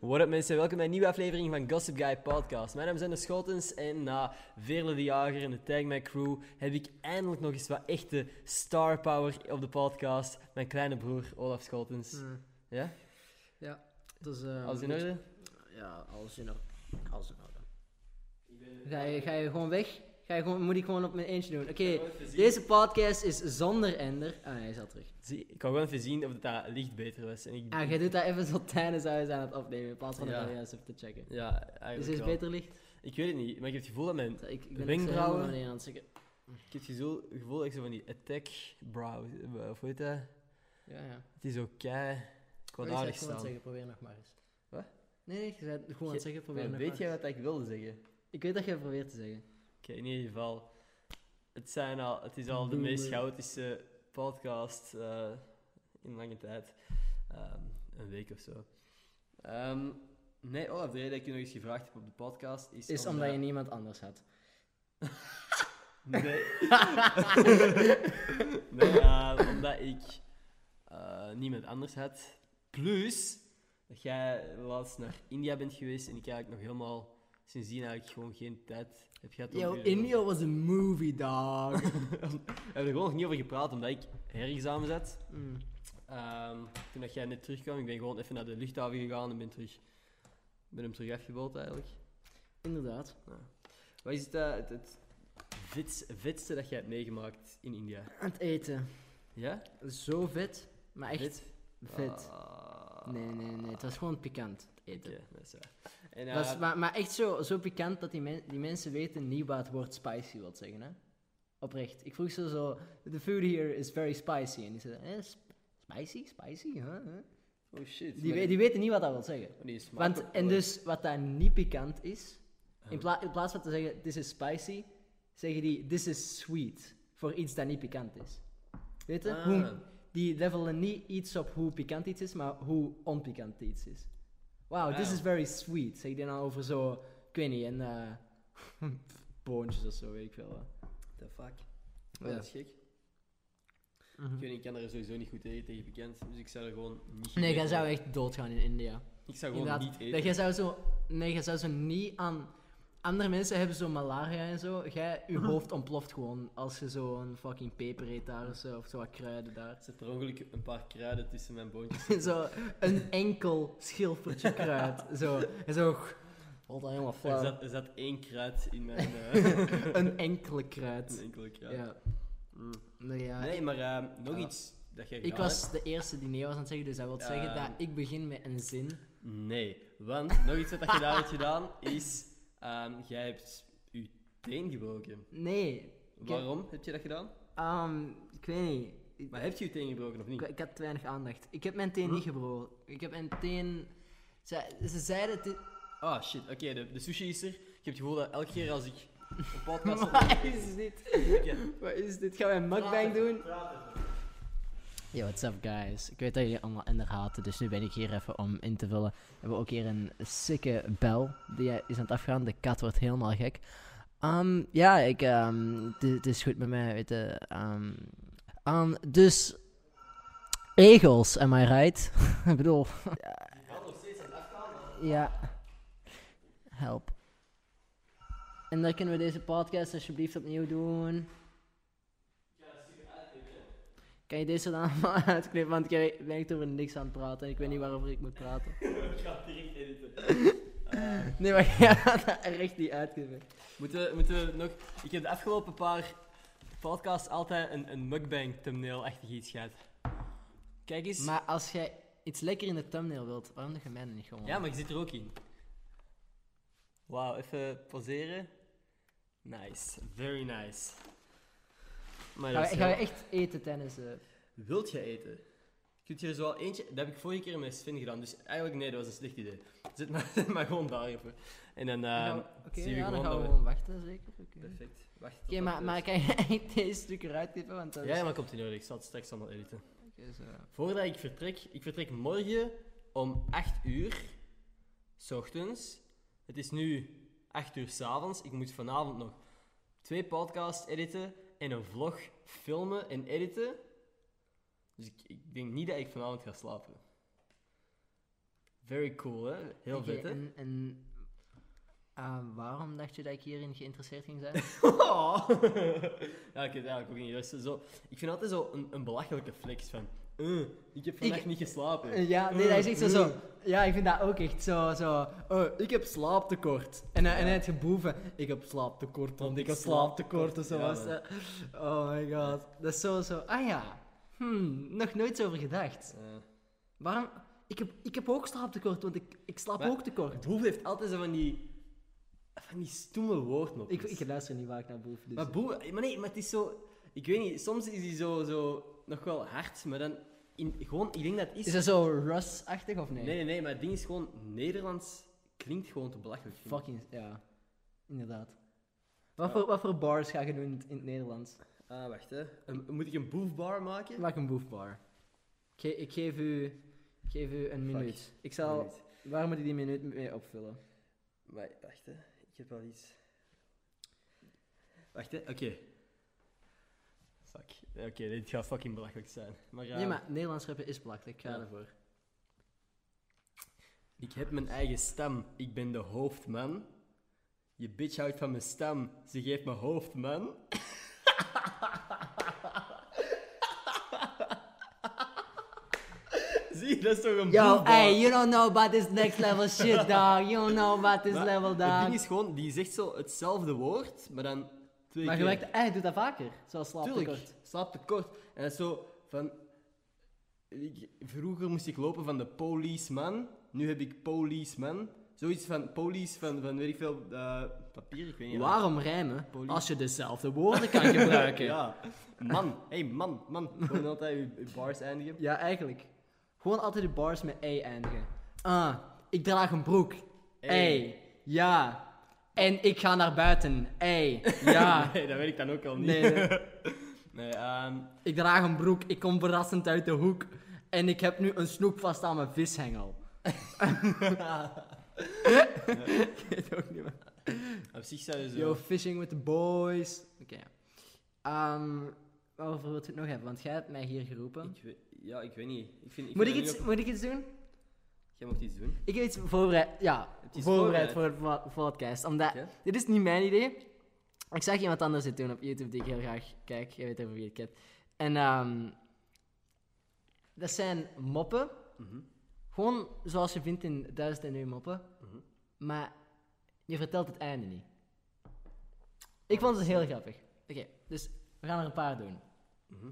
What up mensen, welkom bij een nieuwe aflevering van Gossip Guy Podcast. Mijn naam is Anne Schotens en na Veerle de Jager en de Tag My Crew heb ik eindelijk nog eens wat echte star power op de podcast. Mijn kleine broer Olaf Schotens. Hmm. Ja? Ja, dus... eh, Alles in orde? Ja, alles in orde. Alles in orde. Ga je, ga je gewoon weg? Ga je gewoon, moet ik gewoon op mijn eentje doen? Oké, deze podcast is zonder Ender. Ah, hij is al terug. Zie, ik kan gewoon even zien of dat, dat licht beter was. En ik... Ah, jij doet dat even zo tijdens hij is aan het opnemen, in plaats van dat Ja. hij juist even te checken. Ja, eigenlijk Dus is wel. beter licht? Ik weet het niet, maar ik heb het gevoel dat mijn... Ik, ik ben Wenkbrauwen. echt zo helemaal naar beneden aan het zeggen. Ik heb het gevoel, het gevoel dat ik zo van die attack brow... eh, Of hoe heet dat? Ja, ja. Het is ook kei... Nee, je zei Kwaadaardig gewoon aan het staan. zeggen, probeer nog maar eens. Wat? Nee, nee, je zei gewoon aan Je- het zeggen, probeer Maar nog Weet maar jij eens. wat ik wilde zeggen? Ik weet dat jij probeert te zeggen. Oké, in ieder geval. Het, zijn al, het is al de Boomer. meest chaotische podcast eh, in lange tijd. Ehm, een week of zo. Ehm, nee, Olaf, de reden dat ik je nog eens gevraagd heb op de podcast is... Is omdat je niemand anders had. Nee. nee, eh, omdat ik eh, niemand anders had. Plus, dat jij laatst naar India bent geweest en ik eigenlijk nog helemaal sindsdien eigenlijk gewoon geen tijd heb gehad om Yo, u- India was een movie, dog. We hebben er gewoon nog niet over gepraat, omdat ik herexamen zat. Mm. Ehm, toen dat jij net terugkwam, ik ben gewoon even naar de luchthaven gegaan en ben, terug, ben hem terug afgebouwd eigenlijk. Inderdaad. Wat is het, eh, het, het vets- vetste dat jij hebt meegemaakt in India? Aan het eten. Ja? Zo vet, maar echt vet. Vet? Ah, Nee, nee, nee. Het was gewoon pikant, het Oké, eten. dat is waar. En, Dat was, eh, maar, maar echt zo, zo pikant dat die, men- die mensen weten niet wat het woord spicy wil zeggen, hè. Oprecht. Ik vroeg ze zo, the food here is very spicy. En die zeiden, eh, sp- spicy, spicy, hè? hè?" Oh shit. oh Die, we- die weten niet wat dat wil zeggen. Want, en dus, wat daar niet pikant is, in, pla- in plaats van te zeggen, this is spicy, zeggen die, this is sweet. Voor iets dat niet pikant is. Weet je? Ah. Hoe, die levelen niet iets op hoe pikant iets is, maar hoe onpikant iets is. Wow, this Ah. is very sweet. Zeg je dan over zo, ik weet niet, en eh, boontjes of zo, weet ik veel. wat. The fuck. Oh, Ja. Mhm. Dat is gek. Ik weet niet, ik kan er sowieso niet goed tegen, tegen bekend, dus ik zou er gewoon niet Nee, jij eten. zou echt doodgaan in India. Ik zou gewoon Inderdaad. niet eten. Dat jij zou zo, nee, jij zou zo niet aan... Andere mensen hebben zo malaria en zo. Jij, je Mhm. hoofd ontploft gewoon als je zo'n fucking peper eet daar of zo, of zo wat kruiden daar. Er zit per ongeluk een paar kruiden tussen mijn boontjes. zo een enkel schilfertje kruid. Zo. En zo... Wat een helemaal Er, flauw. zat, er zat één kruid in mijn... eh, Een enkele een kruid. enkele kruid. Ja. Mm. Nee, ja. Nee, maar eh, nog Ja. iets dat jij Ik gedaan was de eerste die nee was aan het zeggen, dus dat wil Ja. zeggen dat ik begin met een zin. hebt. Nee, want nog iets wat je daar hebt gedaan is... ehm, jij hebt je teen gebroken. Nee. Ik heb- Waarom heb je dat gedaan? ehm, ik weet niet. Ik- Maar heb je je teen gebroken of niet? Ik, ik had te weinig aandacht. Ik heb mijn teen niet gebroken. Ik heb mijn teen... Ze, ze zeiden... het i- Ah, shit. Oké, de, de sushi is er. Ik heb het gevoel dat elke keer als ik een podcast... Wat is dit? Oké. Wat is dit? Gaan we een mukbang doen? Praat even. Yo, what's up guys? Ik weet dat jullie allemaal Ender haten, dus nu ben ik hier even om in te vullen. We hebben ook hier een sikke bel die eh, is aan het afgaan. De kat wordt helemaal gek. Ehm, ja, ik, ehm, het is- het is goed met mij, weet je. Ehm, ehm, dus, egels, am I right? ik bedoel... ja. Help. En dan kunnen we deze podcast alsjeblieft opnieuw doen. Kan je deze dan allemaal uitknippen? Want ik ben echt over niks aan het praten en ik weet niet waarover ik moet praten. Ik ga het direct editen. Nee, maar jij gaat dat echt niet uitknippen. Moeten, we- moeten we nog... Ik heb de afgelopen paar podcasts altijd een, een mukbang thumbnail-achtig iets gehad. Kijk eens. Maar als jij iets lekker in de thumbnail wilt, waarom doe je mij dan niet gewoon? Ja, maar je zit er ook in. Wauw, even pauzeren. Nice. Very nice. Maar Ga, dat is je- ga je heel- echt eten tijdens eh, Ehm, de... Wilt je eten? Kunt je er zo al eentje... Dat heb ik vorige keer met Sven gedaan, dus eigenlijk nee, dat was een slecht idee. Zet maar, zet maar gewoon daar even. En dan ehm, Oké, zien we ja, gewoon dan gaan we dat we... gewoon wachten, zeker. Oké, Perfect. Wacht Oké, maar, maar kan je echt deze stuk eruit knippen? Want dat Ja, is... maar komt in orde. Ik zal het straks allemaal editen. Oké, zo. Voordat ik vertrek, ik vertrek morgen om 8 uur, s ochtends. Het is nu 8 uur s avonds. Ik moet vanavond nog twee podcasts editen en een vlog filmen en editen. Dus ik, ik denk niet dat ik vanavond ga slapen. Very cool, hè? Heel Oké, vet, hè? En, en ah, waarom dacht je dat ik hierin geïnteresseerd ging zijn? ja, ik heb het eigenlijk ook niet juist. Zo, ik vind altijd zo een, een belachelijke flex van... eh, ik heb vannacht Ik- Eh, niet geslapen. Ja, nee, dat is echt zo, zo. Ja, ik vind dat ook echt zo. zo oh, ik heb slaaptekort. En, dan- en Ja. het geboeven. Ik heb slaaptekort, want ik heb slaaptekort. Of zo Ja, was man. dat. Oh my god. Dat is zo, zo. Ah ja. Hmm, nog nooit zo over gedacht. Ja. Waarom? Ik heb, ik heb ook slaaptekort, want ik, ik slaap Maar- ook tekort. Boef heeft altijd zo van die... Van die stomme woordnopjes. Ik, ik luister niet vaak naar boef. Dus. Maar boe, maar nee, maar het is zo... Ik weet niet, soms is hij zo, zo nog wel hard, maar dan... In, gewoon, ik denk dat het is... is dat zo Russ-achtig of Nee, nee, nee, maar het ding is gewoon... Nederlands klinkt gewoon te belachelijk. vind ik. Fucking, ja. Inderdaad. Wat, voor, wat voor bars ga je doen in, het- in het Nederlands? Ah, wacht, hè. Een- moet ik een boefbar maken? Maak een boefbar. Ik, ge- ik geef u, ik geef u een Fuck. minuut. Ik zal... Minuut. Waar moet ik die minuut mee opvullen? Maar wacht, hè. Ik heb wel iets. Wacht, hè. Oké. Fuck. Oké, dit gaat fucking belachelijk zijn. Maar, eh, Nee, maar Nederlands rappen is belachelijk. Ik ga Ja. ervoor. Ik heb mijn eigen stem. Ik ben de hoofdman. Je bitch houdt van mijn stem. Ze geeft me hoofdman. Zie, dat is toch een Yo, boefbar? hey, you don't know about this next level shit, dog. You don't know about this Maar level, Het dog. ding is gewoon, die zegt zo hetzelfde woord, maar dan twee Maar je keer. merkt, hey, doe dat vaker. Zoals Tuurlijk, slaaptekort. slaaptekort. En dat is zo van... ik- vroeger moest ik lopen van de policeman, nu heb ik policeman. Zoiets van police, van, van weet ik veel, eh, papier, ik weet niet. Waarom rijmen Police. als je dezelfde woorden kan gebruiken? ja. Ja. Man, hey man, man. Gewoon altijd je, je bars eindigen. eigenlijk. Gewoon altijd de bars met E eindigen. Ah, ik draag een broek. Ey. Ey, ja. En ik ga naar buiten. Ey, ja. Nee, Ah, dat weet ik dan ook al niet. Nee, nee. Nee, ehm, Ik draag een broek, ik kom verrassend uit de hoek. En ik heb nu een snoep vast aan mijn vishengel. ik weet ook niet meer. op zich zou je zo... Yo, fishing with the boys. Oké. Ehm, waarover wil je het nog hebben? Want jij hebt mij hier geroepen. Ik weet- ja, ik weet niet. Ik vind, ik moet, ik vind dat iets, nu moet ik iets doen? nog- Jij mocht iets doen. Ik heb iets voorbereid. Ja, je iets voorbereid voor het po- podcast. Omdat Oké. dit is niet mijn idee. Ik zag iemand anders dit doen op YouTube die ik heel graag kijk. Je weet over wie ik het En ehm, dat zijn moppen. Mhm. Gewoon zoals je vindt in Duizend en Een Moppen. Mhm. Maar je vertelt het einde niet. Ik vond het heel grappig. Oké, dus we gaan er een paar doen. Mhm.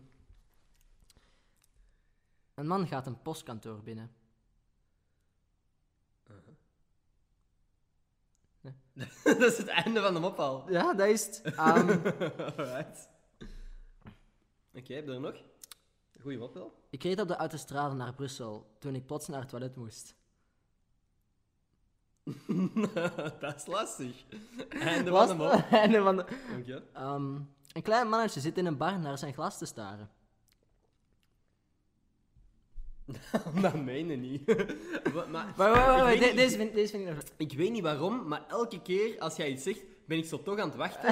Een man gaat een postkantoor binnen. dat is het einde van de mop al. Ja, dat is het. Ehm, Alright. Oké, heb je er nog? Goeie mop wel. Ik reed op de autostrade naar Brussel toen ik plots naar het toilet moest. dat is lastig. Einde Was- van de mop. Einde van de- Dank je. Ehm, een klein mannetje zit in een bar naar zijn glas te staren. dat meen je niet. Wa- maar, Maar wacht, wacht, ik wacht, weet de- niet- deze vind, deze vind ik nog... Ik weet niet waarom, maar elke keer als jij iets zegt, ben ik zo toch aan het wachten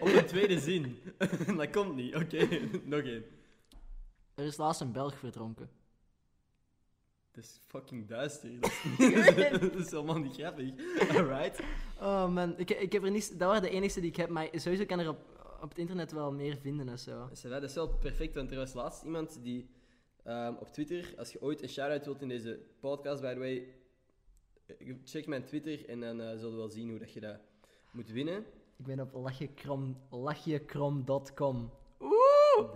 op een tweede zin. dat komt niet. Oké, nog één. Er is laatst een Belg verdronken. Dat is fucking duister. Dat is, dat is helemaal niet grappig. Alright. Oh man, ik, ik heb er niet... Dat waren de enigste die ik heb, maar sowieso kan er op, op het internet wel meer vinden en zo. Ça va, Dat is wel perfect, want er was laatst iemand die ehm, op Twitter, als je ooit een shout-out wilt in deze podcast, by the way, eh, check mijn Twitter en dan eh zullen we wel zien hoe dat je dat moet winnen. Ik ben op lachjekrom, lachjekrom.com.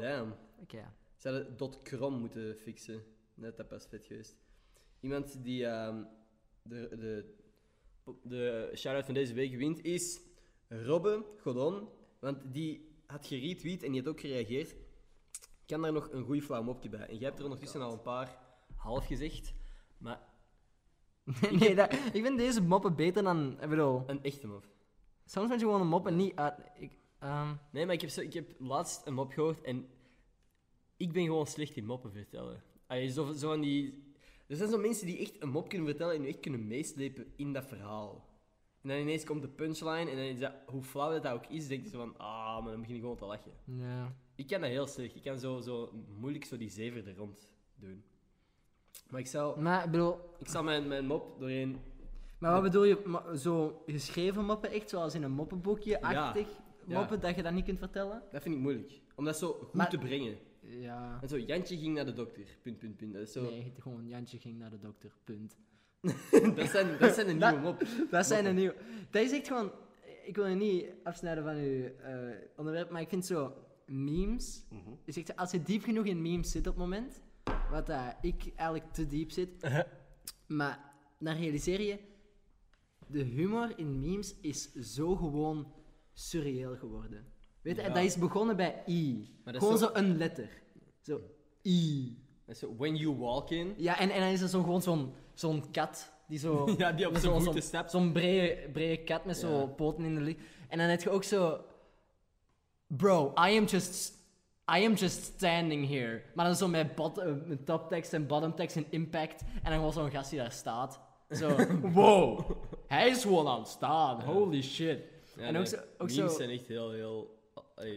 Damn. Oké, Ze hadden dot .crom moeten fixen. Net dat pas vet geweest. Iemand die ehm, de, de, de shout-out van deze week wint is Robbe Godon. Want die had geretweet en die had ook gereageerd. Ik kan daar nog een goede flauw mopje bij. En jij hebt er ondertussen al een paar half gezegd. Maar nee, dat, ik vind deze moppen beter dan... Ik bedoel, een echte mop. soms vind je gewoon een mop en niet uit... Ik, ehm, Nee, maar ik heb, zo, ik heb laatst een mop gehoord en ik ben gewoon slecht in moppen vertellen. Allee, zo, zo van die, er zijn zo mensen die echt een mop kunnen vertellen en die echt kunnen meeslepen in dat verhaal. En dan ineens komt de punchline en dan is dat, hoe flauw dat, dat ook is, denk je zo van, ah, maar dan begin je gewoon te lachen. ja. Ik kan dat heel slecht. Ik kan zo, zo moeilijk zo die zever er rond doen. Maar ik zal, Maar ik bedoel, ik zal mijn, mijn mop doorheen... maar wat bedoel je? Ma- Zo geschreven moppen, echt zoals in een moppenboekje-achtig? ja. Moppen dat je dat niet kunt vertellen? Dat vind ik moeilijk. Om dat zo goed Maar- te brengen. Ja. En zo, Jantje ging naar de dokter. Punt, punt, punt. Dat, is zo, Nee, gewoon Jantje ging naar de dokter, punt. dat, zijn, dat zijn de Dat- nieuwe mop. Dat zijn een nieuw. Dat is echt gewoon. Ik wil je niet afsnijden van uw eh, onderwerp, maar ik vind zo memes. Is echt, zo, als je diep genoeg in memes zit op het moment, wat dat ik eigenlijk te diep zit, maar dan realiseer je, de humor in memes is zo gewoon surreëel geworden. Weet je, Ja. dat is begonnen bij I. Maar dat is Gewoon zo- zo een letter. Zo I. Dat is zo, when you walk in. Ja, en, en dan is er zo'n gewoon zo'n zo'n kat die zo. Ja, die op met zijn zo'n- voeten zo'n- stapt. Zo'n brede, brede kat met Ja. zo'n poten in de lucht. En dan heb je ook zo. Bro, I am just. I am just standing here. Maar dan zo met, bot, eh, met toptekst en bottomtekst en impact. En dan gewoon zo'n gast die daar staat. Zo, wow, hij is gewoon aan het staan. Holy shit. Ja, en ook nee, zo. Ook memes zo zijn echt heel, heel... ey,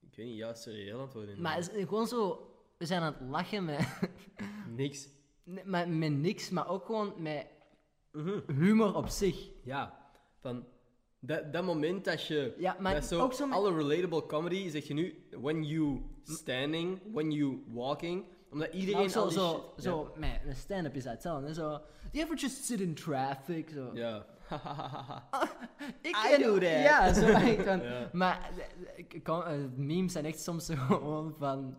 ik weet niet, ja, serieel aan het worden. maar het is gewoon zo. We zijn aan het lachen met. Niks. Nee, maar met niks, maar ook gewoon met Mhm. humor op zich. Ja, van dat, dat moment dat je. Ja, maar dat ook zo met- Alle relatable comedy zeg je nu. When you standing, when you walking. Omdat iedereen. Maar ook zo, al die zo, shit- zo met een stand-up is dat hetzelfde. hè, Zo, do you ever just sit in traffic? Zo. Ja. ja. Ik I ken- do that. Ja, zo echt van- Ja. Maar eh, ik kan- eh, memes zijn echt soms zo gewoon van...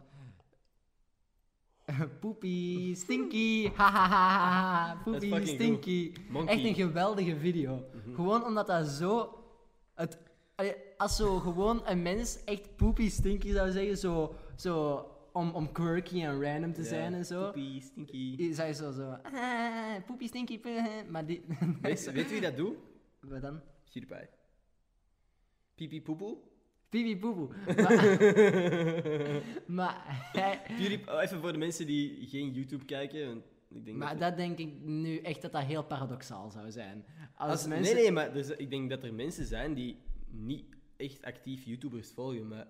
Poepie, stinky, hahaha, Dat poepie, is fucking goed. stinky. Monkey. Mhm. Echt een geweldige video. Gewoon omdat dat zo... Het, allee, als zo gewoon een mens echt poepie, stinky zou zeggen, zo... zo om, om quirky en random te zijn en zo. Poepie, stinky. Je zei zo zo, ah, poepie stinky, puh, maar die... Weet, weet wie dat doet? Wat dan? Hierbij. Pipi poepoe. Pipi poepoe. Maar, maar, hij- Piri- oh, even voor de mensen die geen YouTube kijken. want ik denk maar dat, dat denk ik nu echt dat dat heel paradoxaal zou zijn. Als, als, mensen... Nee, nee, maar dus, ik denk dat er mensen zijn die niet echt actief YouTubers volgen. Maar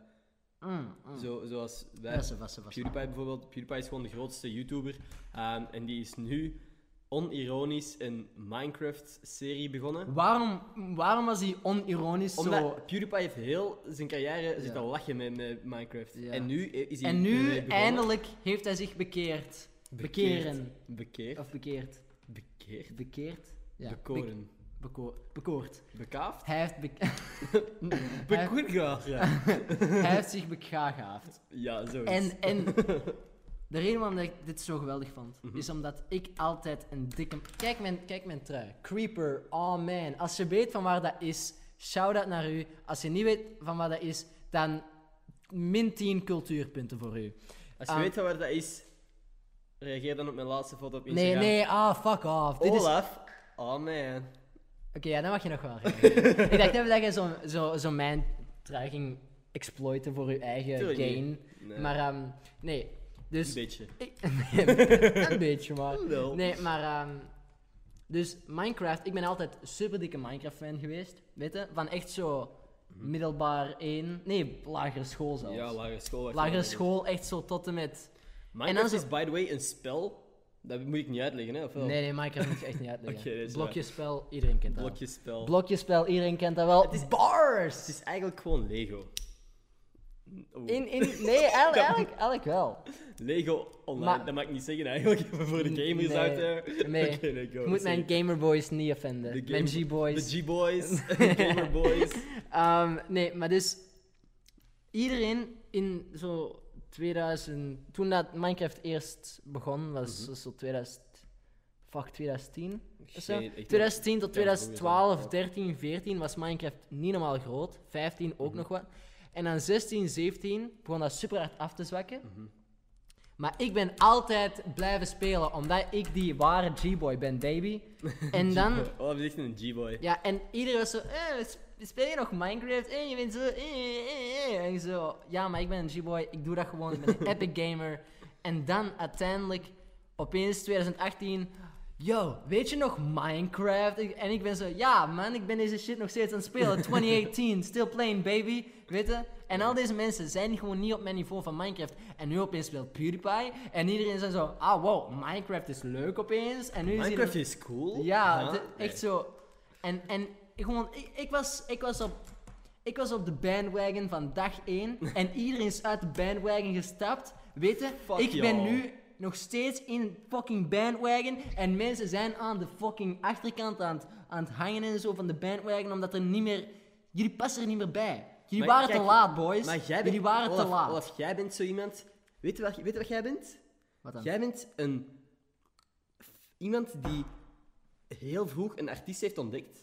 Mm, mm. zo, zoals wij. Dat is een vaste vast. PewDiePie bijvoorbeeld. PewDiePie is gewoon de grootste YouTuber. Ehm, en die is nu onironisch een Minecraft-serie begonnen. Waarom, waarom was hij onironisch Omdat zo... PewDiePie heeft heel zijn carrière zitten lachen met, met Minecraft. Ja. En nu is hij... En nu, ermee begonnen. eindelijk, heeft hij zich bekeerd. Bekeren. Bekeerd. Of bekeerd. Bekeerd. Bekeerd? Ja. bek- Bekoren. beko- bekoord. Bekaafd? Hij heeft, bek- Bekoergaar. hij heeft zich begaafd. Ja, zo En, en de reden waarom dat ik dit zo geweldig vond, Mhm. is omdat ik altijd een dikke... Kijk mijn, kijk mijn trui. Creeper, oh man. Als je weet van waar dat is, shout-out naar u. Als je niet weet van waar dat is, dan min 10 cultuurpunten voor u. Als je Ehm, weet waar dat is, reageer dan op mijn laatste foto op Nee, Instagram. nee, ah, fuck off. Dit is... Oké, Olaf. Oh man. ja, dan mag je nog wel reageren. Ik dacht even dat je zo'n zo, zo mijn trui ging exploiten voor je eigen Tuurlijk niet. gain. Nee, Maar ehm, nee, Een dus... beetje. Ik- Nee, een beetje maar. Wel. Nee, maar. ehm, dus Minecraft, ik ben altijd super dikke Minecraft fan geweest. Weet je? Van echt zo middelbaar 1. Nee, lagere school zelfs. Mhm. Ja, lagere school. was lagere wel- school, echt zo tot en met. Minecraft En dan is, by the way, een spel. Dat moet ik niet uitleggen, hè? Of wel? Nee, nee, Minecraft moet je echt niet uitleggen. Oh. Oké, dat is waar. Blokjespel, iedereen kent dat. wel. Blokjespel. Blokjespel, iedereen kent dat wel. Het is bars! het is eigenlijk gewoon Lego. Oh. In, in, nee, eigenlijk, eigenlijk, eigenlijk wel. Lego online. Maar- Dat mag ik niet zeggen eigenlijk, even voor de gamers Nee. out there. Nee. Oké, nee, go, Ik moet sorry. mijn gamerboys niet offenden. De mijn game- De G-boys. G-boys, de gamerboys. Ehm, nee, maar dus iedereen in zo 2000, toen dat Minecraft eerst begon, was Mhm. dus zo 2000, fuck 2010. of zo. Geen- echt 2010 tot niet. Ja, dat is 2012, ook 13, 14 was Minecraft niet normaal groot, 15 ook Mhm. nog wat. En dan 16, 17 begon dat super hard af te zwakken. Mhm. Maar ik ben altijd blijven spelen, omdat ik die ware G-boy ben, baby. En dan, Oh, dat is echt een G-boy. ja, en iedereen was zo, eh, we sp- speel je nog Minecraft? Eh, je bent zo, eh, eh, eh." En ik zo, ja, maar ik ben een G-boy, ik doe dat gewoon, ik ben een epic gamer. En dan uiteindelijk, opeens 2018, Yo, weet je nog Minecraft? Ik- En ik ben zo, ja man, ik ben deze shit nog steeds aan het spelen. 2018, still playing baby, weet je? En al deze mensen zijn gewoon niet op mijn niveau van Minecraft. En nu opeens speelt PewDiePie. En iedereen is zo, ah wow, Minecraft is leuk opeens. En nu is iedereen- Minecraft is cool. ja, Huh? de- echt zo. En, en ik gewoon, ik, ik, was, ik, was op, ik was op de bandwagon van dag 1 en iedereen is uit de bandwagon gestapt. Weet je, Fuck ik ben y'all. nu nog steeds in een fucking bandwagon en mensen zijn aan de fucking achterkant aan het, aan het hangen en zo van de bandwagon omdat er niet meer, jullie passen er niet meer bij. Jullie Maar waren te kijk, laat, boys. Maar jij bent, jullie waren te Olaf, laat. Olaf, jij bent zo iemand. Weet je wat, weet je wat jij bent? Wat dan? Jij bent een. iemand die heel vroeg een artiest heeft ontdekt.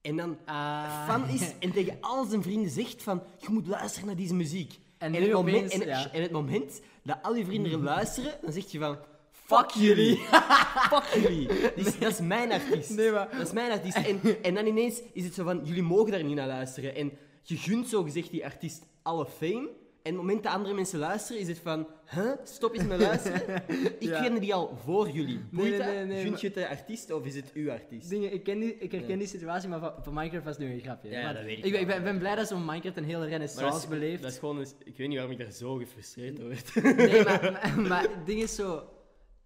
En dan Ah. fan is en tegen al zijn vrienden zegt van, je moet luisteren naar deze muziek. En het nu moment, opeens, en, ja. en het moment dat al je vrienden luisteren, dan zeg je van, fuck jullie. fuck jullie. Die is- Dat is mijn artiest. Nee, maar- Dat is mijn artiest. En, en dan ineens is het zo van, jullie mogen daar niet naar luisteren. En je gunt zogezegd die artiest alle fame. En op het moment dat andere mensen luisteren, is het van, huh, stop eens met luisteren. Ik Ja. kende die al voor jullie. Boeit nee, dat? nee, nee, Gunt maar- je het de artiest of is het uw artiest? Dingen, ik, ken die, ik herken die situatie, maar van, van Minecraft was nu een grapje. Ja, Maar dat weet ik Ik, wel. ben, ben blij dat zo'n Minecraft een hele Maar dat is- renaissance beleeft. Dat is gewoon, eens- ik weet niet waarom ik daar zo gefrustreerd door werd. Nee, maar, maar, maar het ding is zo.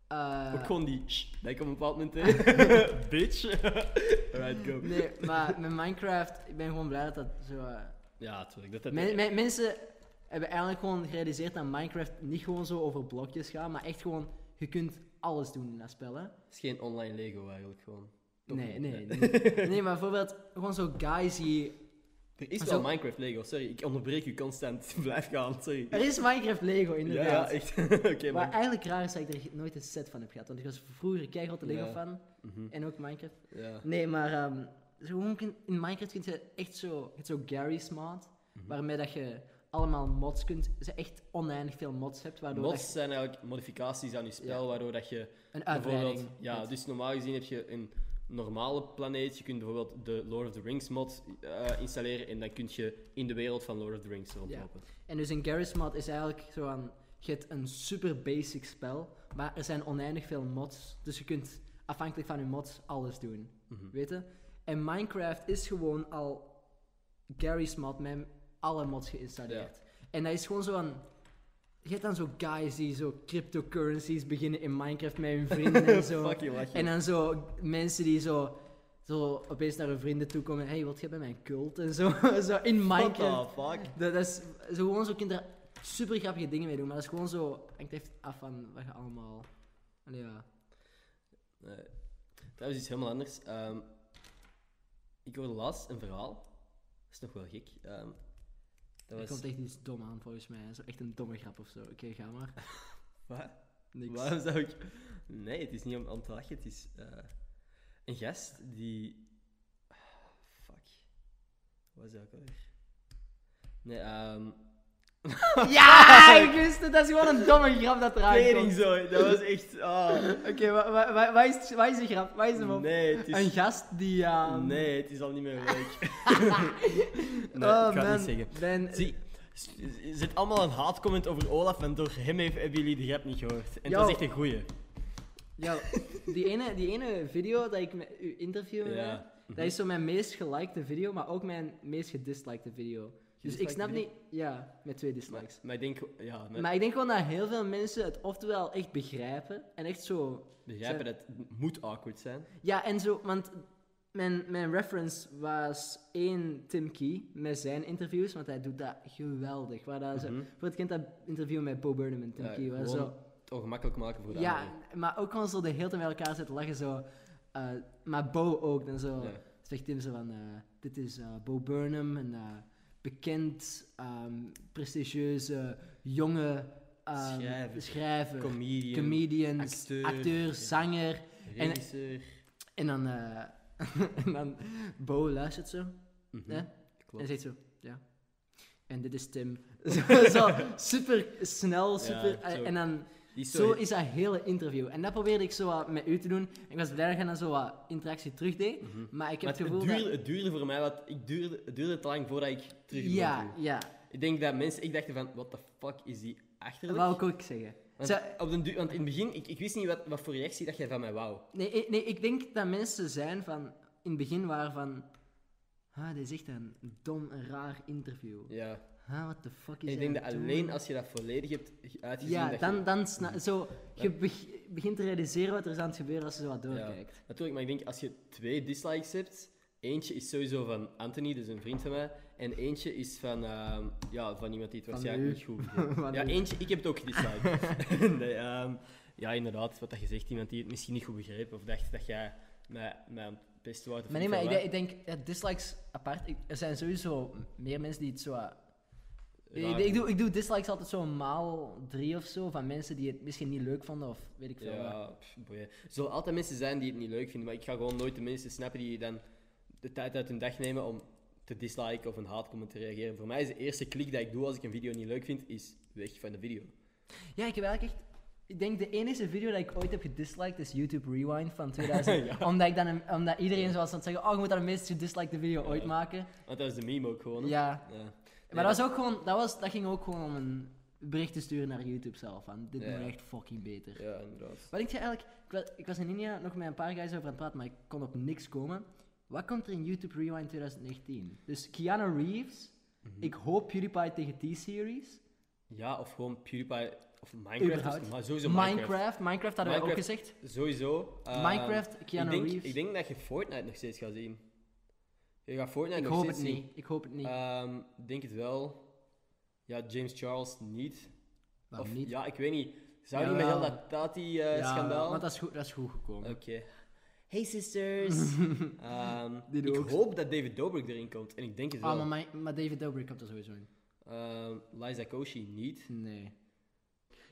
eh, Ook gewoon die "Sst", dat ik op een bepaald moment deed. Bitch. Alright, go. nee, maar met Minecraft, ik ben gewoon blij dat dat zo. eh, Ja, tuurlijk. Dat heb men- ik. men- mensen hebben eigenlijk gewoon gerealiseerd dat Minecraft niet gewoon zo over blokjes gaat, maar echt gewoon, je kunt alles doen in dat spel. Hè? Het is geen online Lego eigenlijk gewoon. Toch Nee, niet? nee, nee. Nee, maar bijvoorbeeld, gewoon zo guys die. Er is Maar wel zo- Minecraft Lego, sorry. Ik onderbreek u constant. Blijf gaan, sorry. Er is Minecraft Lego, Ja, inderdaad. ja, echt. Oké, Maar maar... eigenlijk raar is dat ik er nooit een set van heb gehad, want ik was vroeger keihard een Ja. Lego fan Mhm, en ook Minecraft. ja. Nee, maar ehm, zo gewoon kun- in Minecraft vind je echt zo, je hebt zo Gary's mod, Mhm. waarmee dat je allemaal mods kunt, ze echt oneindig veel mods hebt, waardoor Mods zijn eigenlijk modificaties aan je spel, Ja. waardoor dat je dat je een uitbreiding Bijvoorbeeld, ja, hebt. dus normaal gezien heb je een normale planeet. Je kunt bijvoorbeeld de Lord of the Rings mod eh, installeren en dan kun je in de wereld van Lord of the Rings rondlopen. En dus een Gary's mod is eigenlijk zo aan, je hebt een super basic spel, maar er zijn oneindig veel mods, dus je kunt afhankelijk van je mods alles doen, Mhm. weet je? En Minecraft is gewoon al Gary's mod met alle mods geïnstalleerd. En dat is gewoon zo aan. Je hebt dan zo guys die zo cryptocurrencies beginnen in Minecraft met hun vrienden en zo. Fuck je, lach je. En dan zo mensen die zo, zo opeens naar hun vrienden toe komen. hey, wat jij bij mijn cult? En zo, zo in What Minecraft. the fuck? Dat, dat is zo gewoon zo kinderen super grappige dingen mee doen. Maar dat is gewoon zo. Hangt echt af van wat je allemaal. Allee, ja. Nee. Eh, Trouwens, iets helemaal anders. Ehm, ik hoorde laatst een verhaal. Dat is nog wel gek. Ehm, dat Er was... komt echt iets dom aan volgens mij. Zo echt een domme grap of zo. Oké, ga maar. Wat? Niks. Waarom zou ik... Nee, het is niet om aan te lachen. Het is eh, een gast die... Fuck. Wat zou ik alweer? Nee, ehm... Ja, ik wist het. Dat is gewoon een domme grap dat eruit Tering komt. zo, dat was echt... ah. Oké, wa- wa- wa- waar is, waar is de grap? Waar is de mop? Nee, het Een is... gast die... ehm, Nee, het is al niet meer leuk. nee, oh, ik ga man, het niet zeggen. Ben, Zie, s- er zit allemaal een haatcomment over Olaf en door hem heeft, hebben jullie de grap niet gehoord. En Yo. dat is echt een goeie. ja, die, ene, die ene video dat ik met u interview Ja. met, dat is zo mijn meest gelikte video, maar ook mijn meest gedislikte video. Dus ik Gedislikte snap video? niet... Ja, met twee Maar, dislikes. maar ik denk... Ja, maar Maar ik denk gewoon dat heel veel mensen het oftewel echt begrijpen en echt zo begrijpen eh. dat het moet awkward zijn. Ja, en zo, want mijn, mijn reference was één Tim Key met zijn interviews, want hij doet dat geweldig. Waar dat zo, Mhm. voor het kind dat interview met Bo Burnham en Tim Ja, Key, waar gewoon zo, het ongemakkelijk maken voor de ja, anderen. maar ook gewoon zo de hele tijd met elkaar zitten lachen, zo. eh, maar Bo ook, dan zo, Ja. zegt Tim zo van, eh, dit is eh, Bo Burnham, een eh, bekend, ehm, prestigieuze, jonge ehm, Schrijver. schrijver, Comedian, comedian, acteur. acteur zanger. en- regisseur. En dan, eh, en dan Bo luistert zo. Mhm, hè? En Klopt. zegt zo, ja. En dit is Tim. zo, zo super snel, super. eh, Ja, zo. en dan, Die is zo zo... is dat hele interview. En dat probeerde ik zo wat met u te doen. Ik was blij dat je dan zo wat interactie terugdeed. Mhm. Maar ik heb Maar het, het gevoel duurde, dat... het duurde voor mij wat... Ik duurde, het duurde te lang voordat ik terug Ja, ja. Ik denk dat mensen... Ik dacht van, what the fuck is die Dat achterlijk? wou ik ook zeggen. Want, Ze- op den duur- want in het begin, ik, ik wist niet wat, wat voor reactie dat jij van mij wou. Nee, ik- nee, ik denk dat mensen zijn van in het begin waren van. Ah, dit is echt een dom en raar interview. Ja. Ah, what the fuck is En ik hij denk dat aan het doen? alleen als je dat volledig hebt uitgezien... Ja, dat dan, Je, dan sna- zo, je beg- begint te realiseren wat er is aan het gebeuren als je zo wat ja, doorkijkt. natuurlijk, maar ik denk als je twee dislikes hebt... Eentje is sowieso van Anthony, dus een vriend van mij. En eentje is van, ehm, ja, van iemand die het Van waarschijnlijk u. niet goed vindt. Van Ja, u. eentje, ik heb het ook gedisliked. nee, ehm, ja, inderdaad, wat dat je zegt. Iemand die het misschien niet goed begreep of dacht dat jij mij, mij aan het pesten wou. of Maar nee, niet maar ik, van denk- waar. ik denk, ja, dislikes apart. Ik- er zijn sowieso meer mensen die het zo... eh, Ik, ik, doe, ik doe dislikes altijd zo maal drie of zo, van mensen die het misschien niet leuk vonden of weet ik veel wat. Ja, pff, boeien. Er zullen altijd mensen zijn die het niet leuk vinden, maar ik ga gewoon nooit de mensen snappen die dan de tijd uit hun dag nemen om te disliken of een haatcomment te reageren. Voor mij is de eerste klik dat ik doe als ik een video niet leuk vind, is weg van de video. Ja, ik heb eigenlijk echt... Ik denk de enige video dat ik ooit heb gedisliked is YouTube Rewind van 2000. Ja. omdat, ik dan een- omdat iedereen zo was aan het zeggen, oh, je moet dan de meest gedislikte video Ja. ooit maken. Want dat is de meme ook gewoon. hè? Ja. Ja. Nee, Maar dat, was ook gewoon, dat, was, dat ging ook gewoon om een bericht te sturen naar YouTube zelf. Van, dit Ja. moet echt fucking beter. Ja, inderdaad. Wat denk je eigenlijk? Ik was, ik was in India nog met een paar guys over aan het praten, maar ik kon op niks komen. Wat komt er in YouTube Rewind 2019? Dus Keanu Reeves, ik hoop PewDiePie tegen T-Series. Ja, of gewoon PewDiePie of Minecraft. Überhaupt. Of, maar sowieso Minecraft. Minecraft, Minecraft hadden wij ook Minecraft. gezegd. Sowieso. ehm, Minecraft, Keanu ik denk, Reeves. Ik denk dat je Fortnite nog steeds gaat zien. Je gaat Fortnite Ik nog hoop steeds het zien. niet, ik hoop het niet. Ehm, denk het wel. Ja, James Charles niet. Waarom Of- niet? Ja, ik weet niet. Zou niet met heel Jawel. dat Ja, Tati-schandaal? Want dat is goed, dat is goed gekomen. Oké. Hey sisters! Ehm, Die ik doe ook- hoop dat David Dobrik erin komt. En ik denk het ah, wel. maar, mijn- maar David Dobrik komt er sowieso in. Ehm, Liza Koshy niet. Nee.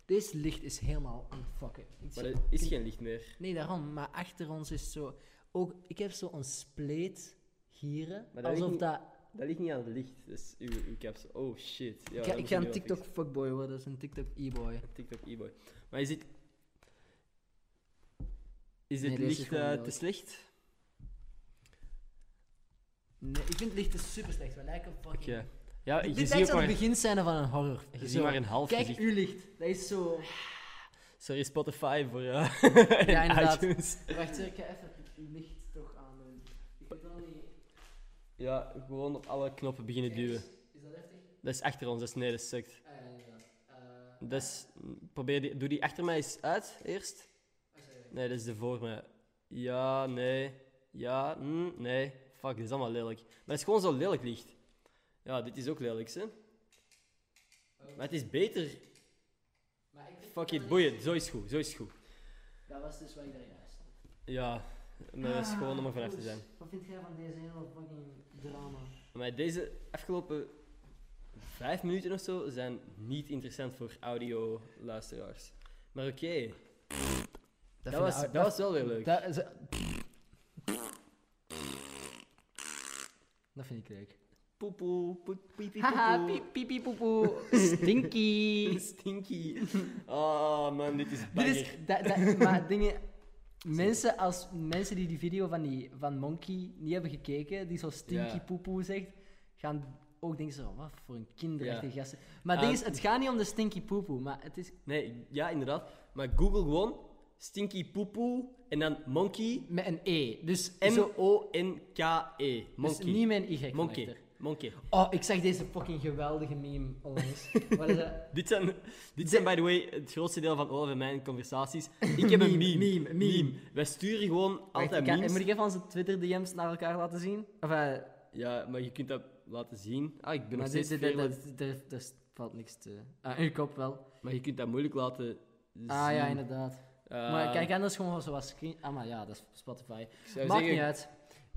Dit licht is helemaal aan het fucken. Ik Maar zie- er is geen licht meer. Nee, daarom. Maar achter ons is zo... Ook, ik heb zo een spleet hier. Maar dat weet ik Alsof niet- dat... Dat ligt niet aan het licht. Dus uw, uw caps. Oh shit. Ja, Ik dat ga, ik moet ga je nu wel een TikTok fixen. fuckboy worden, dus een TikTok e-boy. Een TikTok e-boy. Maar is dit... Is Nee, het deze is licht gewoon eh, rood. te slecht? Nee, ik vind lichten super slecht. We lijken fucking. Oké. Ja, Dit je dit ziet ook lijkt aan maar- het beginscène van een horror. je ziet Zo. maar een half Kijk, gezicht. uw licht. Dat is zo. Sorry Spotify voor ja. Ja, inderdaad. iTunes. Wacht, ik ga even het licht toch aandoen. Ik weet al niet. Ja, gewoon op alle knoppen beginnen Kijk, duwen. Is dat heftig? Dat is achter ons, dat is nee, dat sukt. Ah ja, inderdaad. Eh, Dat is, probeer die, doe die achter mij eens uit, eerst. wacht even. Nee, dat is de voor mij. Ja, nee. Ja, mm, nee. Fuck, dit is allemaal lelijk. Maar het is gewoon zo lelijk licht. Ja, dit is ook lelijk, hè. Maar het is beter. Oh. Maar ik Fuck it, boeien. Zo is goed, zo is goed. Dat was dus wat ik daar juist had. Ja, maar dat is Ah, gewoon om er vanaf te zijn. Wat vind jij van deze hele fucking drama? Maar deze afgelopen vijf minuten of zo zijn niet interessant voor audio-luisteraars. Maar oké, dat, was, dat was wel weer leuk. nou- Dat, is, dat vind ik leuk. Poepoe, poet- piep, piep, Haha, poepoe. piep, piep, piep, poep, poep. Stinky. Stinky. Oh man, dit is Dit banger. is, dat, dat, maar dingen... Mensen, als, mensen die die video van, die, van Monkey niet hebben gekeken, die zo stinky Ja. poepoe zegt, gaan ook denken zo, wat voor een kinderachtige Ja. gasten. Maar het ding Ehm, is, het gaat niet om de stinky poepoe, maar het is... Nee, ja, inderdaad. Maar Google gewoon Stinky Poepoe en dan Monkey. Met een E. Dus, zo, M-O-N-K-E. E. dus Monkey. niet met een Y. van Monkey. achter. Monkey. Oh, ik zag deze fucking geweldige meme onlangs. Wat is dat? Dit zijn, dit zijn, by the way, het grootste deel van Olaf en mijn conversaties. Ik heb een meme. Meme, meme, meme. Wij sturen gewoon Wacht, altijd ik ga- memes. Moet ik even onze Twitter-DM's naar elkaar laten zien? Of, eh, Ja, maar je kunt dat laten zien. Ah, ik ben nog maar steeds dit- dit- vervelend. dit- dit- dit- Daar valt niks te... Ah, uw kop wel. Maar je kunt dat moeilijk laten zien. Ah ja, inderdaad. Dus Eh, maar kijk, anders gewoon zoals screen... Ah, maar ja, dat is Spotify. ik zou Maakt zeggen- niet uit.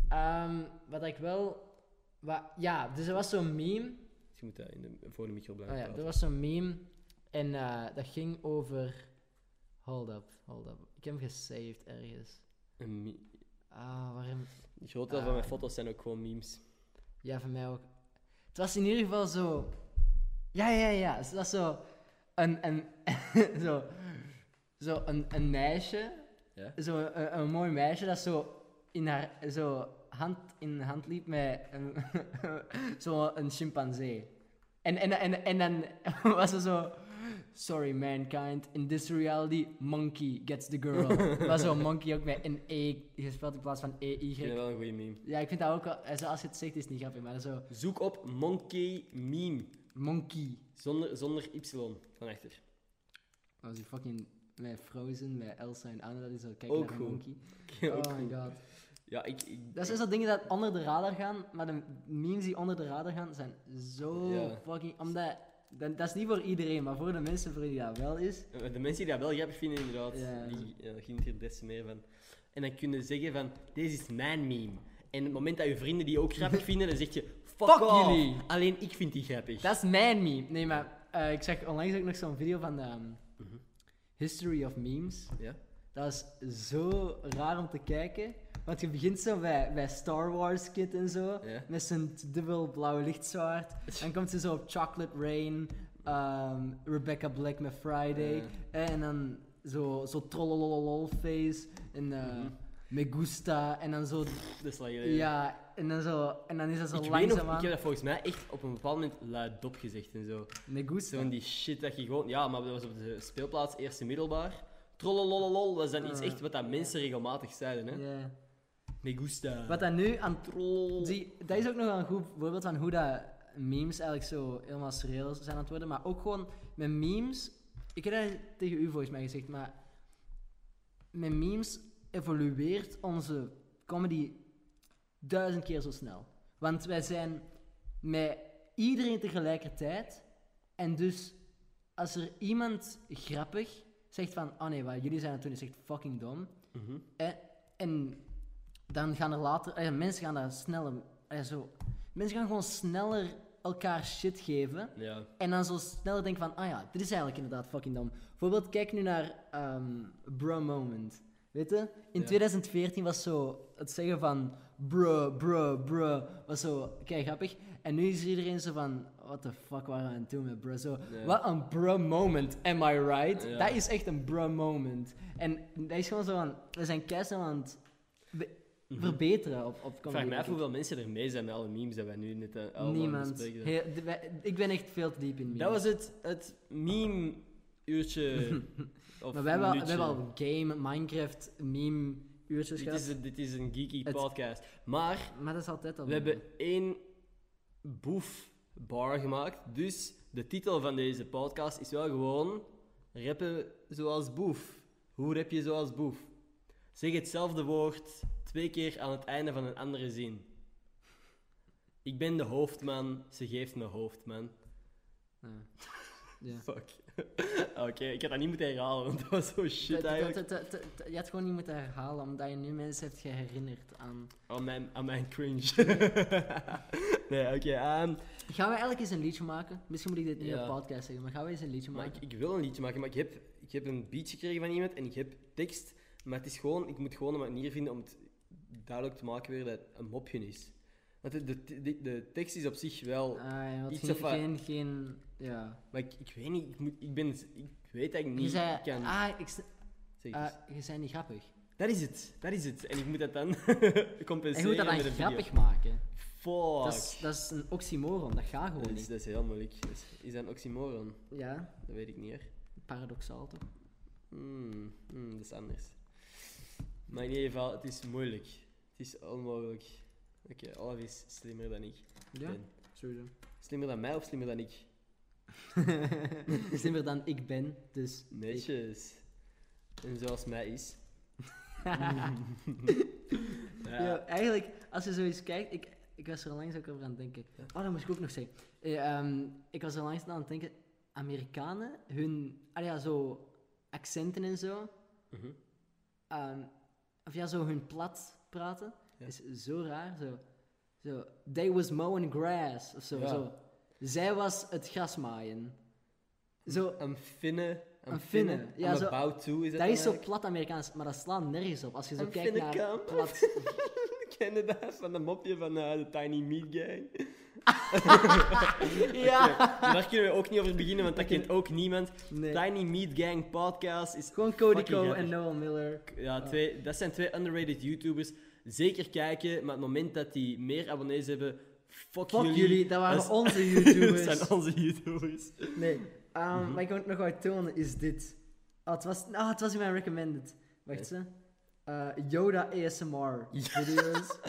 Ehm, wat ik wel... wa- ja, dus er was zo'n meme. Je moet dat in de, voor de micro Oh blijven ja, praten. er was zo'n meme. En eh, dat ging over... Hold up, hold up. Ik heb hem gesaved ergens. Een me- Ah, waarom... Een groot Ah, deel van mijn foto's zijn ook gewoon memes. Ja, van mij ook. Het was in ieder geval zo. Ja, ja, ja. Het was zo. Een. een zo. Zo een, een meisje. Ja? Zo een, een mooi meisje dat zo. In haar. Zo hand in hand liep met. Een, zo een chimpansee. En, en, en, en dan was ze zo. Sorry mankind, in this reality, monkey gets the girl. maar zo monkey ook met een E gespeeld in plaats van Ik vind dat EY. wel een goede meme. Ja, ik vind dat ook wel, eh, zo als je het zegt is het niet grappig, maar zo Zoek op Monkey Meme. monkey. Zonder, zonder Y van achter. Dat was die fucking met Frozen, met Elsa en Anna, dat is zo kijk Ook naar een goed. monkey. Ook Oh my goed. god. Ja, ik... ik Dat zijn zo dingen dat onder de radar gaan, maar de memes die onder de radar gaan zijn zo Ja. fucking. Omdat, dat, dat is niet voor iedereen, maar voor de mensen voor wie dat wel is. Eh, De mensen die dat wel grappig vinden, inderdaad, Ja. die ja, daar genieten er des te meer van. En dan kun je zeggen van, deze is mijn meme. En op het moment dat je vrienden die ook grappig vinden, dan zeg je, fuck, Fuck off. jullie. Alleen ik vind die grappig. Dat is mijn meme. Nee, maar eh, ik zag onlangs ook nog zo'n video van ehm, Mhm. History of Memes. Ja? Dat is zo raar om te kijken. Want je begint zo bij, bij Star Wars Kid en zo. Ja. Met zijn dubbel blauwe lichtzwaard. Dan komt ze zo op Chocolate Rain. ehm, Rebecca Black met Friday. Eh, En dan zo, zo trollolololface. En eh, Mhm. Me Gusta. En dan zo... Dat is lang geleden. Ja, en dan zo... En dan is dat zo dus Ik weet nog, langzaamaan. ik heb dat volgens mij echt op een bepaald moment luidop gezegd en zo. Me Gusta. Zo'n die shit dat je gewoon... Ja, maar dat was op de speelplaats, eerste middelbaar. Trollolololol was dan iets Ah. echt wat dat mensen regelmatig zeiden, hè. Ja. Me gusta. Wat dat nu aan Troll. Zie, dat is ook nog wel een goed voorbeeld van hoe dat memes eigenlijk zo helemaal surreal zijn aan het worden. Maar ook gewoon met memes. Ik heb dat tegen u volgens mij gezegd, maar met memes evolueert onze comedy duizend keer zo snel. Want wij zijn met iedereen tegelijkertijd. En dus als er iemand grappig zegt van, oh nee, wat jullie zijn aan het doen is echt fucking dom. Mhm. Eh, en dan gaan er later... eh, mensen gaan daar sneller... eh, zo. Mensen gaan gewoon sneller elkaar shit geven. Ja. En dan zo sneller denken van... Ah ja, dit is eigenlijk inderdaad fucking dom. Bijvoorbeeld, kijk nu naar ehm Bro Moment. Weet je? In Ja. 2014 was zo het zeggen van... Bro, bro, bro. Was zo kei grappig. En nu is iedereen zo van... What the fuck waren we aan het doen met bro? Zo, Ja. wat een bro moment, am I right? Ja. Dat is echt een bro moment. En dat is gewoon zo van... We zijn keihard aan het be- verbeteren op, op Ik Mhm. vraag me af comedy, denk ik. hoeveel mensen er mee zijn met alle memes dat wij nu net eh, allemaal Niemand. bespreken. Heel- de- wij- ik ben echt veel te diep in memes. Dat was het, het meme-uurtje. of Maar we hebben, al- we minuutje. hebben al game, Minecraft, meme, uurtjes Dit is, gehad. een- dit is een geeky Het- podcast. Maar Maar dat is altijd al. we hebben één boef bar gemaakt. Dus de titel van deze podcast is wel gewoon... Rappen zoals boef. Hoe rap je zoals boef? Zeg hetzelfde woord twee keer aan het einde van een andere zin. Ik ben de hoofdman, ze geeft me hoofdman. Ja. Ja. Fuck. Oké, ik had dat niet moeten herhalen, want dat was zo shit eigenlijk. Te- te- te- te- je had gewoon niet moeten herhalen, omdat je nu mensen hebt geherinnerd aan. Aan mijn, aan mijn cringe. nee, oké. ehm, Gaan we eigenlijk eens een liedje maken? Misschien moet ik dit niet Ja. op podcast zeggen, maar gaan we eens een liedje maar maken? ik, ik wil een liedje maken, maar ik heb, ik heb een beat gekregen van iemand en ik heb tekst. Maar het is gewoon, ik moet gewoon een manier vinden om het duidelijk te maken weer dat het een mopje is. Want de, de, de, de tekst is op zich wel... Ah, ja, want iets geen, of eh, wat- geen, geen. Ja. Maar ik, ik weet niet, ik, moet, ik ben... Ik weet dat ik Je niet zei. kan... Ah, ik, s- zeg ah, eens. je zei niet grappig. dat is het, dat is het. En ik moet dat dan En compenseren je moet dat dan met een video. grappig maken. Fuck. Dat is, dat is een oxymoron, dat gaat Dat gewoon is, niet. dat is heel moeilijk. Dat is, is dat een oxymoron? Ja, Dat weet ik niet hoor. paradoxaal toch? Hmm, hmm, dat is anders. Maar in ieder geval, het is moeilijk. Het is onmogelijk. Oké, Olaf is slimmer dan ik. Ja, ben. sowieso. Slimmer dan mij of slimmer dan ik? Slimmer dan ik ben, dus. ik- Netjes. En zoals mij is. Ja. eigenlijk, als je zo eens kijkt, ik, ik was er langs ook over aan het denken. Ja. Oh, dat moest ik ook nog zeggen. Eh, ehm, ik was er langs aan het denken, Amerikanen, hun, ah ja, zo, accenten en zo, Mhm. ehm, of ja, zo hun plat praten, Ja. is zo raar, zo, zo, they was mowing grass, of zo, Ja. zo. Zij was het gras maaien. Zo, I'm finne. I'm, I'm finna. finne. Ja, I'm zo- about to, is dat dat dan is zo eigenlijk? plat Amerikaans, maar dat slaat nergens op. Als je zo I'm kijkt finna naar come. plat... Ken je dat van dat mopje van eh, de Tiny Meat Gang? ja! Oké, Daar kunnen we ook niet over beginnen, want dat kent ook niemand. Nee. Tiny Meat Gang podcast is Gewoon Cody Fucking Co grappig. en Noel Miller. Ja, twee, dat zijn twee underrated YouTubers. Zeker kijken, maar op het moment dat die meer abonnees hebben, fuck, Fuck jullie, dat waren is- onze dat YouTubers. zijn onze YouTubers. Nee. Ehm, Mhm. Wat ik ook nog wou tonen is dit. Ah, het, was, ah, het was in mijn recommended. Wacht ze. Eh, Yoda ASMR Ja. video's.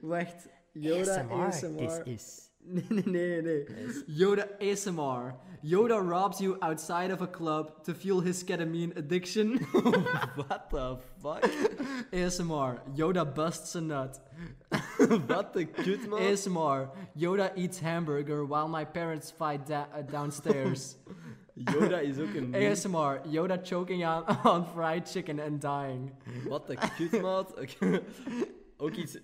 Wacht. Yoda ASMR. is... Nee, nee, nee, nee. Yoda ASMR. Yoda robs you outside of a club to fuel his ketamine addiction. What the fuck? ASMR. Yoda busts a nut. Wat de kut, man. ASMR. Yoda eats hamburger while my parents fight da- uh, downstairs. Yoda is ook Mm-hmm. een meme. ASMR. Yoda choking on, on fried chicken and dying. Wat de kut, maat. Oké. ook iets...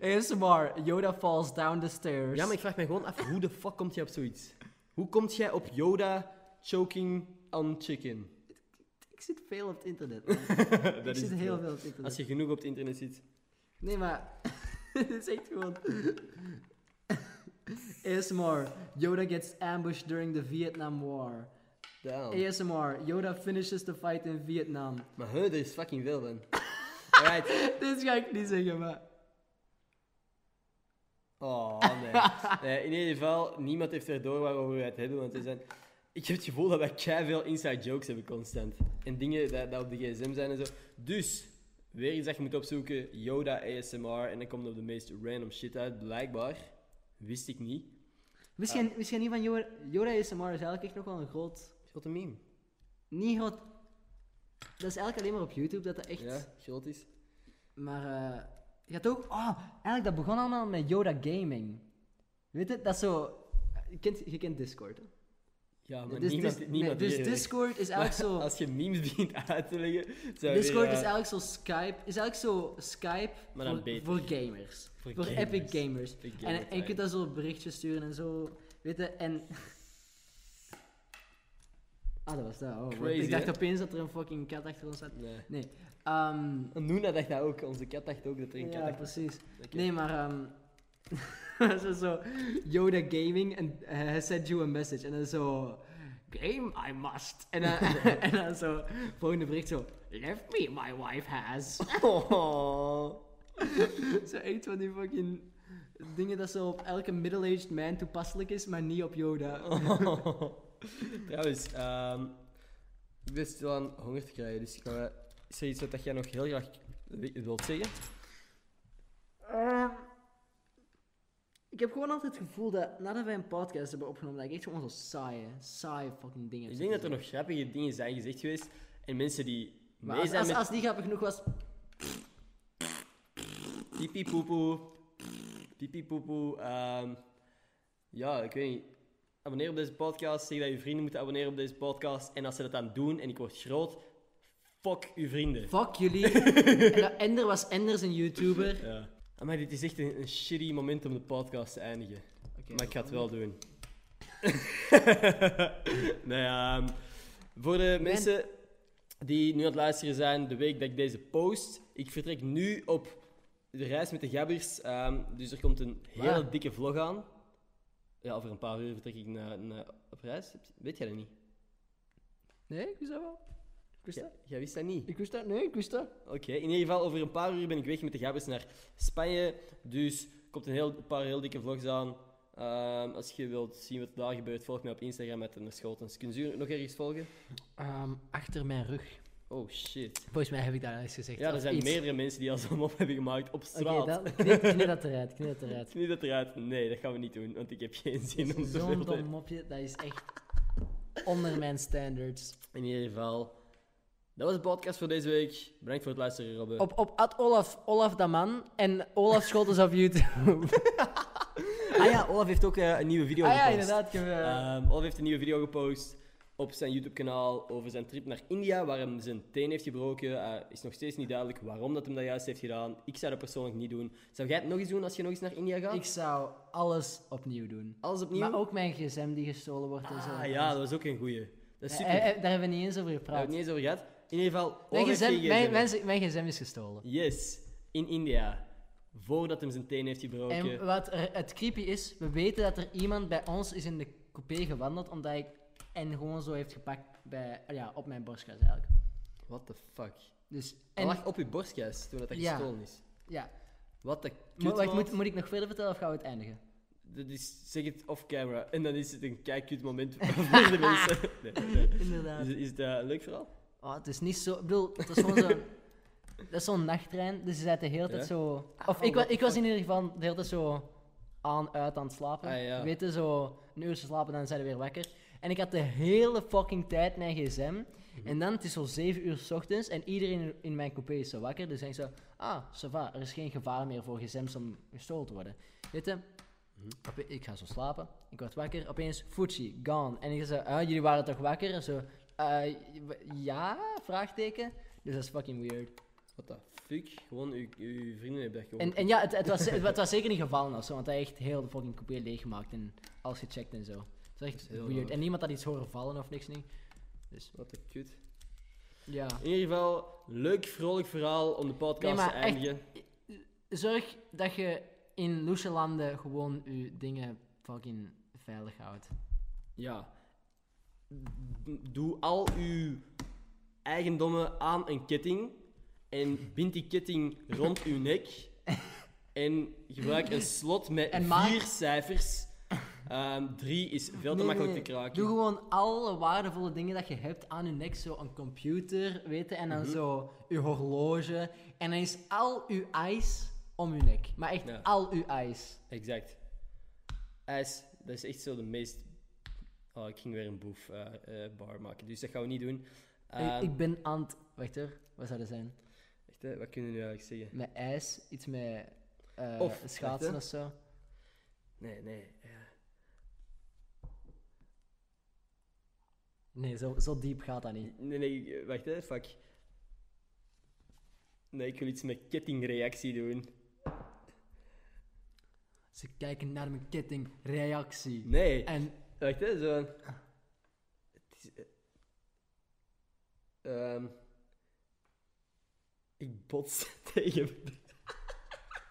ASMR. Yoda falls down the stairs. Ja, maar ik vraag me gewoon af, hoe de fuck komt jij op zoiets? Hoe komt jij op Yoda choking on chicken? Ik zit veel op het internet. man. dat ik is zit het heel wel. veel op het internet. Als je genoeg op het internet zit. Nee, maar... Dit is echt gewoon... ASMR. Yoda gets ambushed during the Vietnam War. Oh. Damn. ASMR. Yoda finishes the fight in Vietnam. Maar huh, er is fucking veel van. Alright. Dit ga ik niet zeggen, maar... Oh, nee. nee. In ieder geval, niemand heeft er door waarover we het hebben, want er zijn... Ik heb het gevoel dat wij keihard veel inside jokes hebben constant. En dingen dat, dat op de gsm zijn en zo. Dus, weer iets dat je moet opzoeken. Yoda ASMR. En dan komt er op de meest random shit uit, blijkbaar. Wist ik niet. Misschien, misschien niet van Yoda. Yoda ASMR is eigenlijk echt nog wel een groot... Grote meme. Niet groot... Dat is eigenlijk alleen maar op YouTube dat dat echt... Ja, groot is. Maar eh je had ook... Oh, eigenlijk dat begon allemaal met Yoda Gaming. Weet je, dat is zo... Je kent, je kent Discord, hè? Ja, maar dus niemand, dis- niemand nee, dus hier- Discord is Maar eigenlijk zo... Als je memes begint uit te leggen, zou je Discord weer, is eh, eigenlijk zo Skype... Is eigenlijk zo Skype Maar dan voor, beter. voor gamers. Voor Voor, gamers. epic gamers. Epic gamer en, en je time. kunt daar zo berichtjes sturen en zo. Weet je, en... Ah, dat was dat. Oh, Crazy, ik dacht hè? opeens dat er een fucking kat achter ons zat. Nee. Nee. ehm, Nuna dacht dat ook, onze kat dacht ook dat er een kat ja, achter precies. Oké. Nee, maar... ehm, dat is zo... Yoda Gaming and, eh, has sent you a message. En dan zo... Game, I must. En dan, en dan zo... Volgende bericht zo... Left me, my wife has. Oh. zo echt van die fucking... Dingen dat zo op elke middle-aged man toepasselijk is, maar niet op Yoda. Trouwens, ehm, ik ben stil aan honger te krijgen, dus ik kan wel- is er iets wat dat jij nog heel graag wi- wilt zeggen? Ehm, ik heb gewoon altijd het gevoel dat nadat wij een podcast hebben opgenomen, dat ik echt gewoon zo saaie, saaie fucking dingen heb Ik denk dat zitten er nog grappige dingen zijn gezegd geweest en mensen die Maar mee als, zijn als, met als die grappig genoeg was, pipi poepoe, pipi poepoe. ehm, ja, ik weet niet. Abonneer op deze podcast. Zeg dat je vrienden moeten abonneren op deze podcast. En als ze dat dan doen en ik word groot, fuck uw vrienden. fuck jullie. en dat Ender was Ender een YouTuber. Ja. Maar dit is echt een, een shitty moment om de podcast te eindigen. maar ik ga het wel doen. nou ja, ehm, voor de mensen die nu aan het luisteren zijn, de week dat ik deze post, ik vertrek nu op de reis met de gabbers. ehm, dus er komt een hele Waar? dikke vlog aan. Ja, over een paar uur vertrek ik naar, naar, op reis. Weet jij dat niet? Nee, ik wist dat wel. Ik wist Ja, dat. jij wist dat niet? Ik wist dat. Nee, ik wist dat. Oké, in ieder geval, over een paar uur ben ik weg met de gabbers naar Spanje. Dus er komt een, heel, een paar heel dikke vlogs aan. Ehm, als je wilt zien wat daar gebeurt, volg mij op Instagram met de Scholtens. Kun je nog ergens volgen? Ehm, achter mijn rug. Oh shit. Volgens mij heb ik daar al eens gezegd. Ja, er Of zijn iets. meerdere mensen die al zo'n mop hebben gemaakt op Oké, straat. dan knip, knip dat eruit. Knip dat eruit. Niet dat eruit. Nee, dat gaan we niet doen, want ik heb geen zin om te Zo'n dom filmen. mopje, dat is echt onder mijn standards. In ieder geval, dat was de podcast voor deze week. Bedankt voor het luisteren, Robbe. Op, op at Olaf, Olaf Daman en Olaf Scholtes op YouTube. Ah ja, Olaf heeft ook eh, een nieuwe video ah ja, gepost. inderdaad. Ik heb, eh, Ehm, Olaf heeft een nieuwe video gepost op zijn YouTube-kanaal over zijn trip naar India, waar hem zijn teen heeft gebroken. Eh, is nog steeds niet duidelijk waarom dat hem dat juist heeft gedaan. Ik zou dat persoonlijk niet doen. Zou jij het nog eens doen als je nog eens naar India gaat? ik zou alles opnieuw doen. Alles Ah. opnieuw? Maar ook mijn gsm die gestolen wordt en zo. ah ja, dat was ook een goeie. Dat is super. Eh, eh, Daar daar hebben we niet eens over hebben we gepraat. het niet eens over gehad. In ieder geval, Olaf Mijn heeft gsm, geen mijn, gsm. mijn, mijn gsm is gestolen. Yes, in India. Voordat hem zijn teen heeft gebroken. En wat er- het creepy is, we weten dat er iemand bij ons is in de coupé gewandeld, omdat ik en gewoon zo heeft gepakt bij, ja, op mijn borstkas eigenlijk. What the fuck? Dus, Hij en, lag op je borstkas toen dat, dat Ja. gestolen is. ja. Wat de Maar kut, wacht, maat. moet, moet ik nog verder vertellen of gaan we het eindigen? dat is, zeg het off-camera. En dan is het een kijkcute moment voor de mensen. Nee, nee. Inderdaad. Is, is dat een leuk verhaal? Oh, het is niet zo... Ik bedoel, het is gewoon zo'n... Dat is zo'n nachttrein, dus ze zaten de hele tijd Ja. zo... Ah, Of ik, wa- what ik the was in fuck. ieder geval de hele tijd zo aan, uit aan het slapen. Ah, ja. Weet je, zo een uur slapen, dan zijn we weer wakker. En ik had de hele fucking tijd mijn gsm. Mhm. En dan, het is zo zeven uur s ochtends en iedereen in- in mijn coupé is zo wakker. Dus denk zo, ah, ça va, er is geen gevaar meer voor gsm's om gestolen te worden. Weet je, Mhm. op- ik ga zo slapen, ik word wakker, opeens Fuji, gone. En ik zei, ah, jullie waren toch wakker? En zo, "Eh, w- ja, vraagteken. Dus dat is fucking weird. What the fuck? Gewoon, uw, uw vrienden hebben dat gewoon. En, en ja, het, het, was, het was zeker niet gevallen of zo, want hij heeft heel de fucking coupé leeggemaakt en alles gecheckt en zo. Het was echt is heel weird. raar. En niemand had iets horen vallen of niks, niet. Wat een kut. Ja. In ieder geval, leuk, vrolijk verhaal om de podcast Nee, te maar echt- eindigen. Zorg dat je in loesje landen gewoon je dingen fucking veilig houdt. Ja. Doe al uw eigendommen aan een ketting en bind die ketting rond uw nek en gebruik een slot met En vier maak- cijfers. Ehm, drie is veel te Nee, makkelijk nee, te kraken. Doe gewoon alle waardevolle dingen dat je hebt aan je nek. Zo een computer, weet je, en Mhm. dan zo je horloge. En dan is al je ijs om je nek. Maar echt Ja. al uw ijs. Exact. IJs, dat is echt zo de meest... Oh, ik ging weer een boef eh, eh, bar maken, dus dat gaan we niet doen. Ik- Ehm, ik ben aan het... Wacht hoor, wat zou dat zijn? echt, hè, wat kunnen we nu eigenlijk zeggen? Met ijs, iets met eh, Of, wacht, schaatsen hè. of zo. Nee, nee. ja. Nee, zo, zo diep gaat dat niet. Nee, nee, eh, wacht hè, fuck. Nee, ik wil iets met kettingreactie doen. Ze kijken naar mijn kettingreactie. Nee, En wacht hè, zo. Het Ah. is, eh, ehm, ik bots tegen.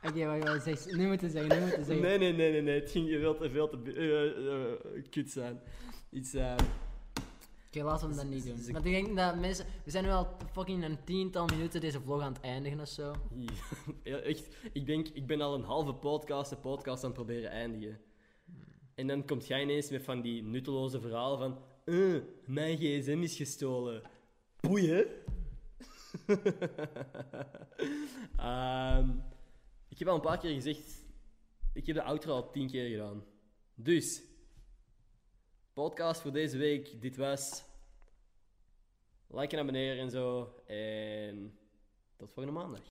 Oké, wacht, wacht, zeg, nu moeten zeggen, nu moeten zeggen. Nee, nee, nee, nee, nee, het ging veel te, veel te eh, eh, kut zijn. Iets. eh, Oké, laten we dat niet doen. ze- Want ik denk dat mensen... We zijn nu al fucking een tiental minuten deze vlog aan het eindigen of zo. ja, echt, ik denk, ik ben al een halve podcast de podcast aan het proberen eindigen. En dan komt jij ineens met van die nutteloze verhaal van... eh, mijn gsm is gestolen. Boeien. Ehm, ik heb al een paar keer gezegd... Ik heb de outro al tien keer gedaan. Dus... Podcast voor deze week. Dit was... Like en abonneren en zo. En... Tot volgende maandag.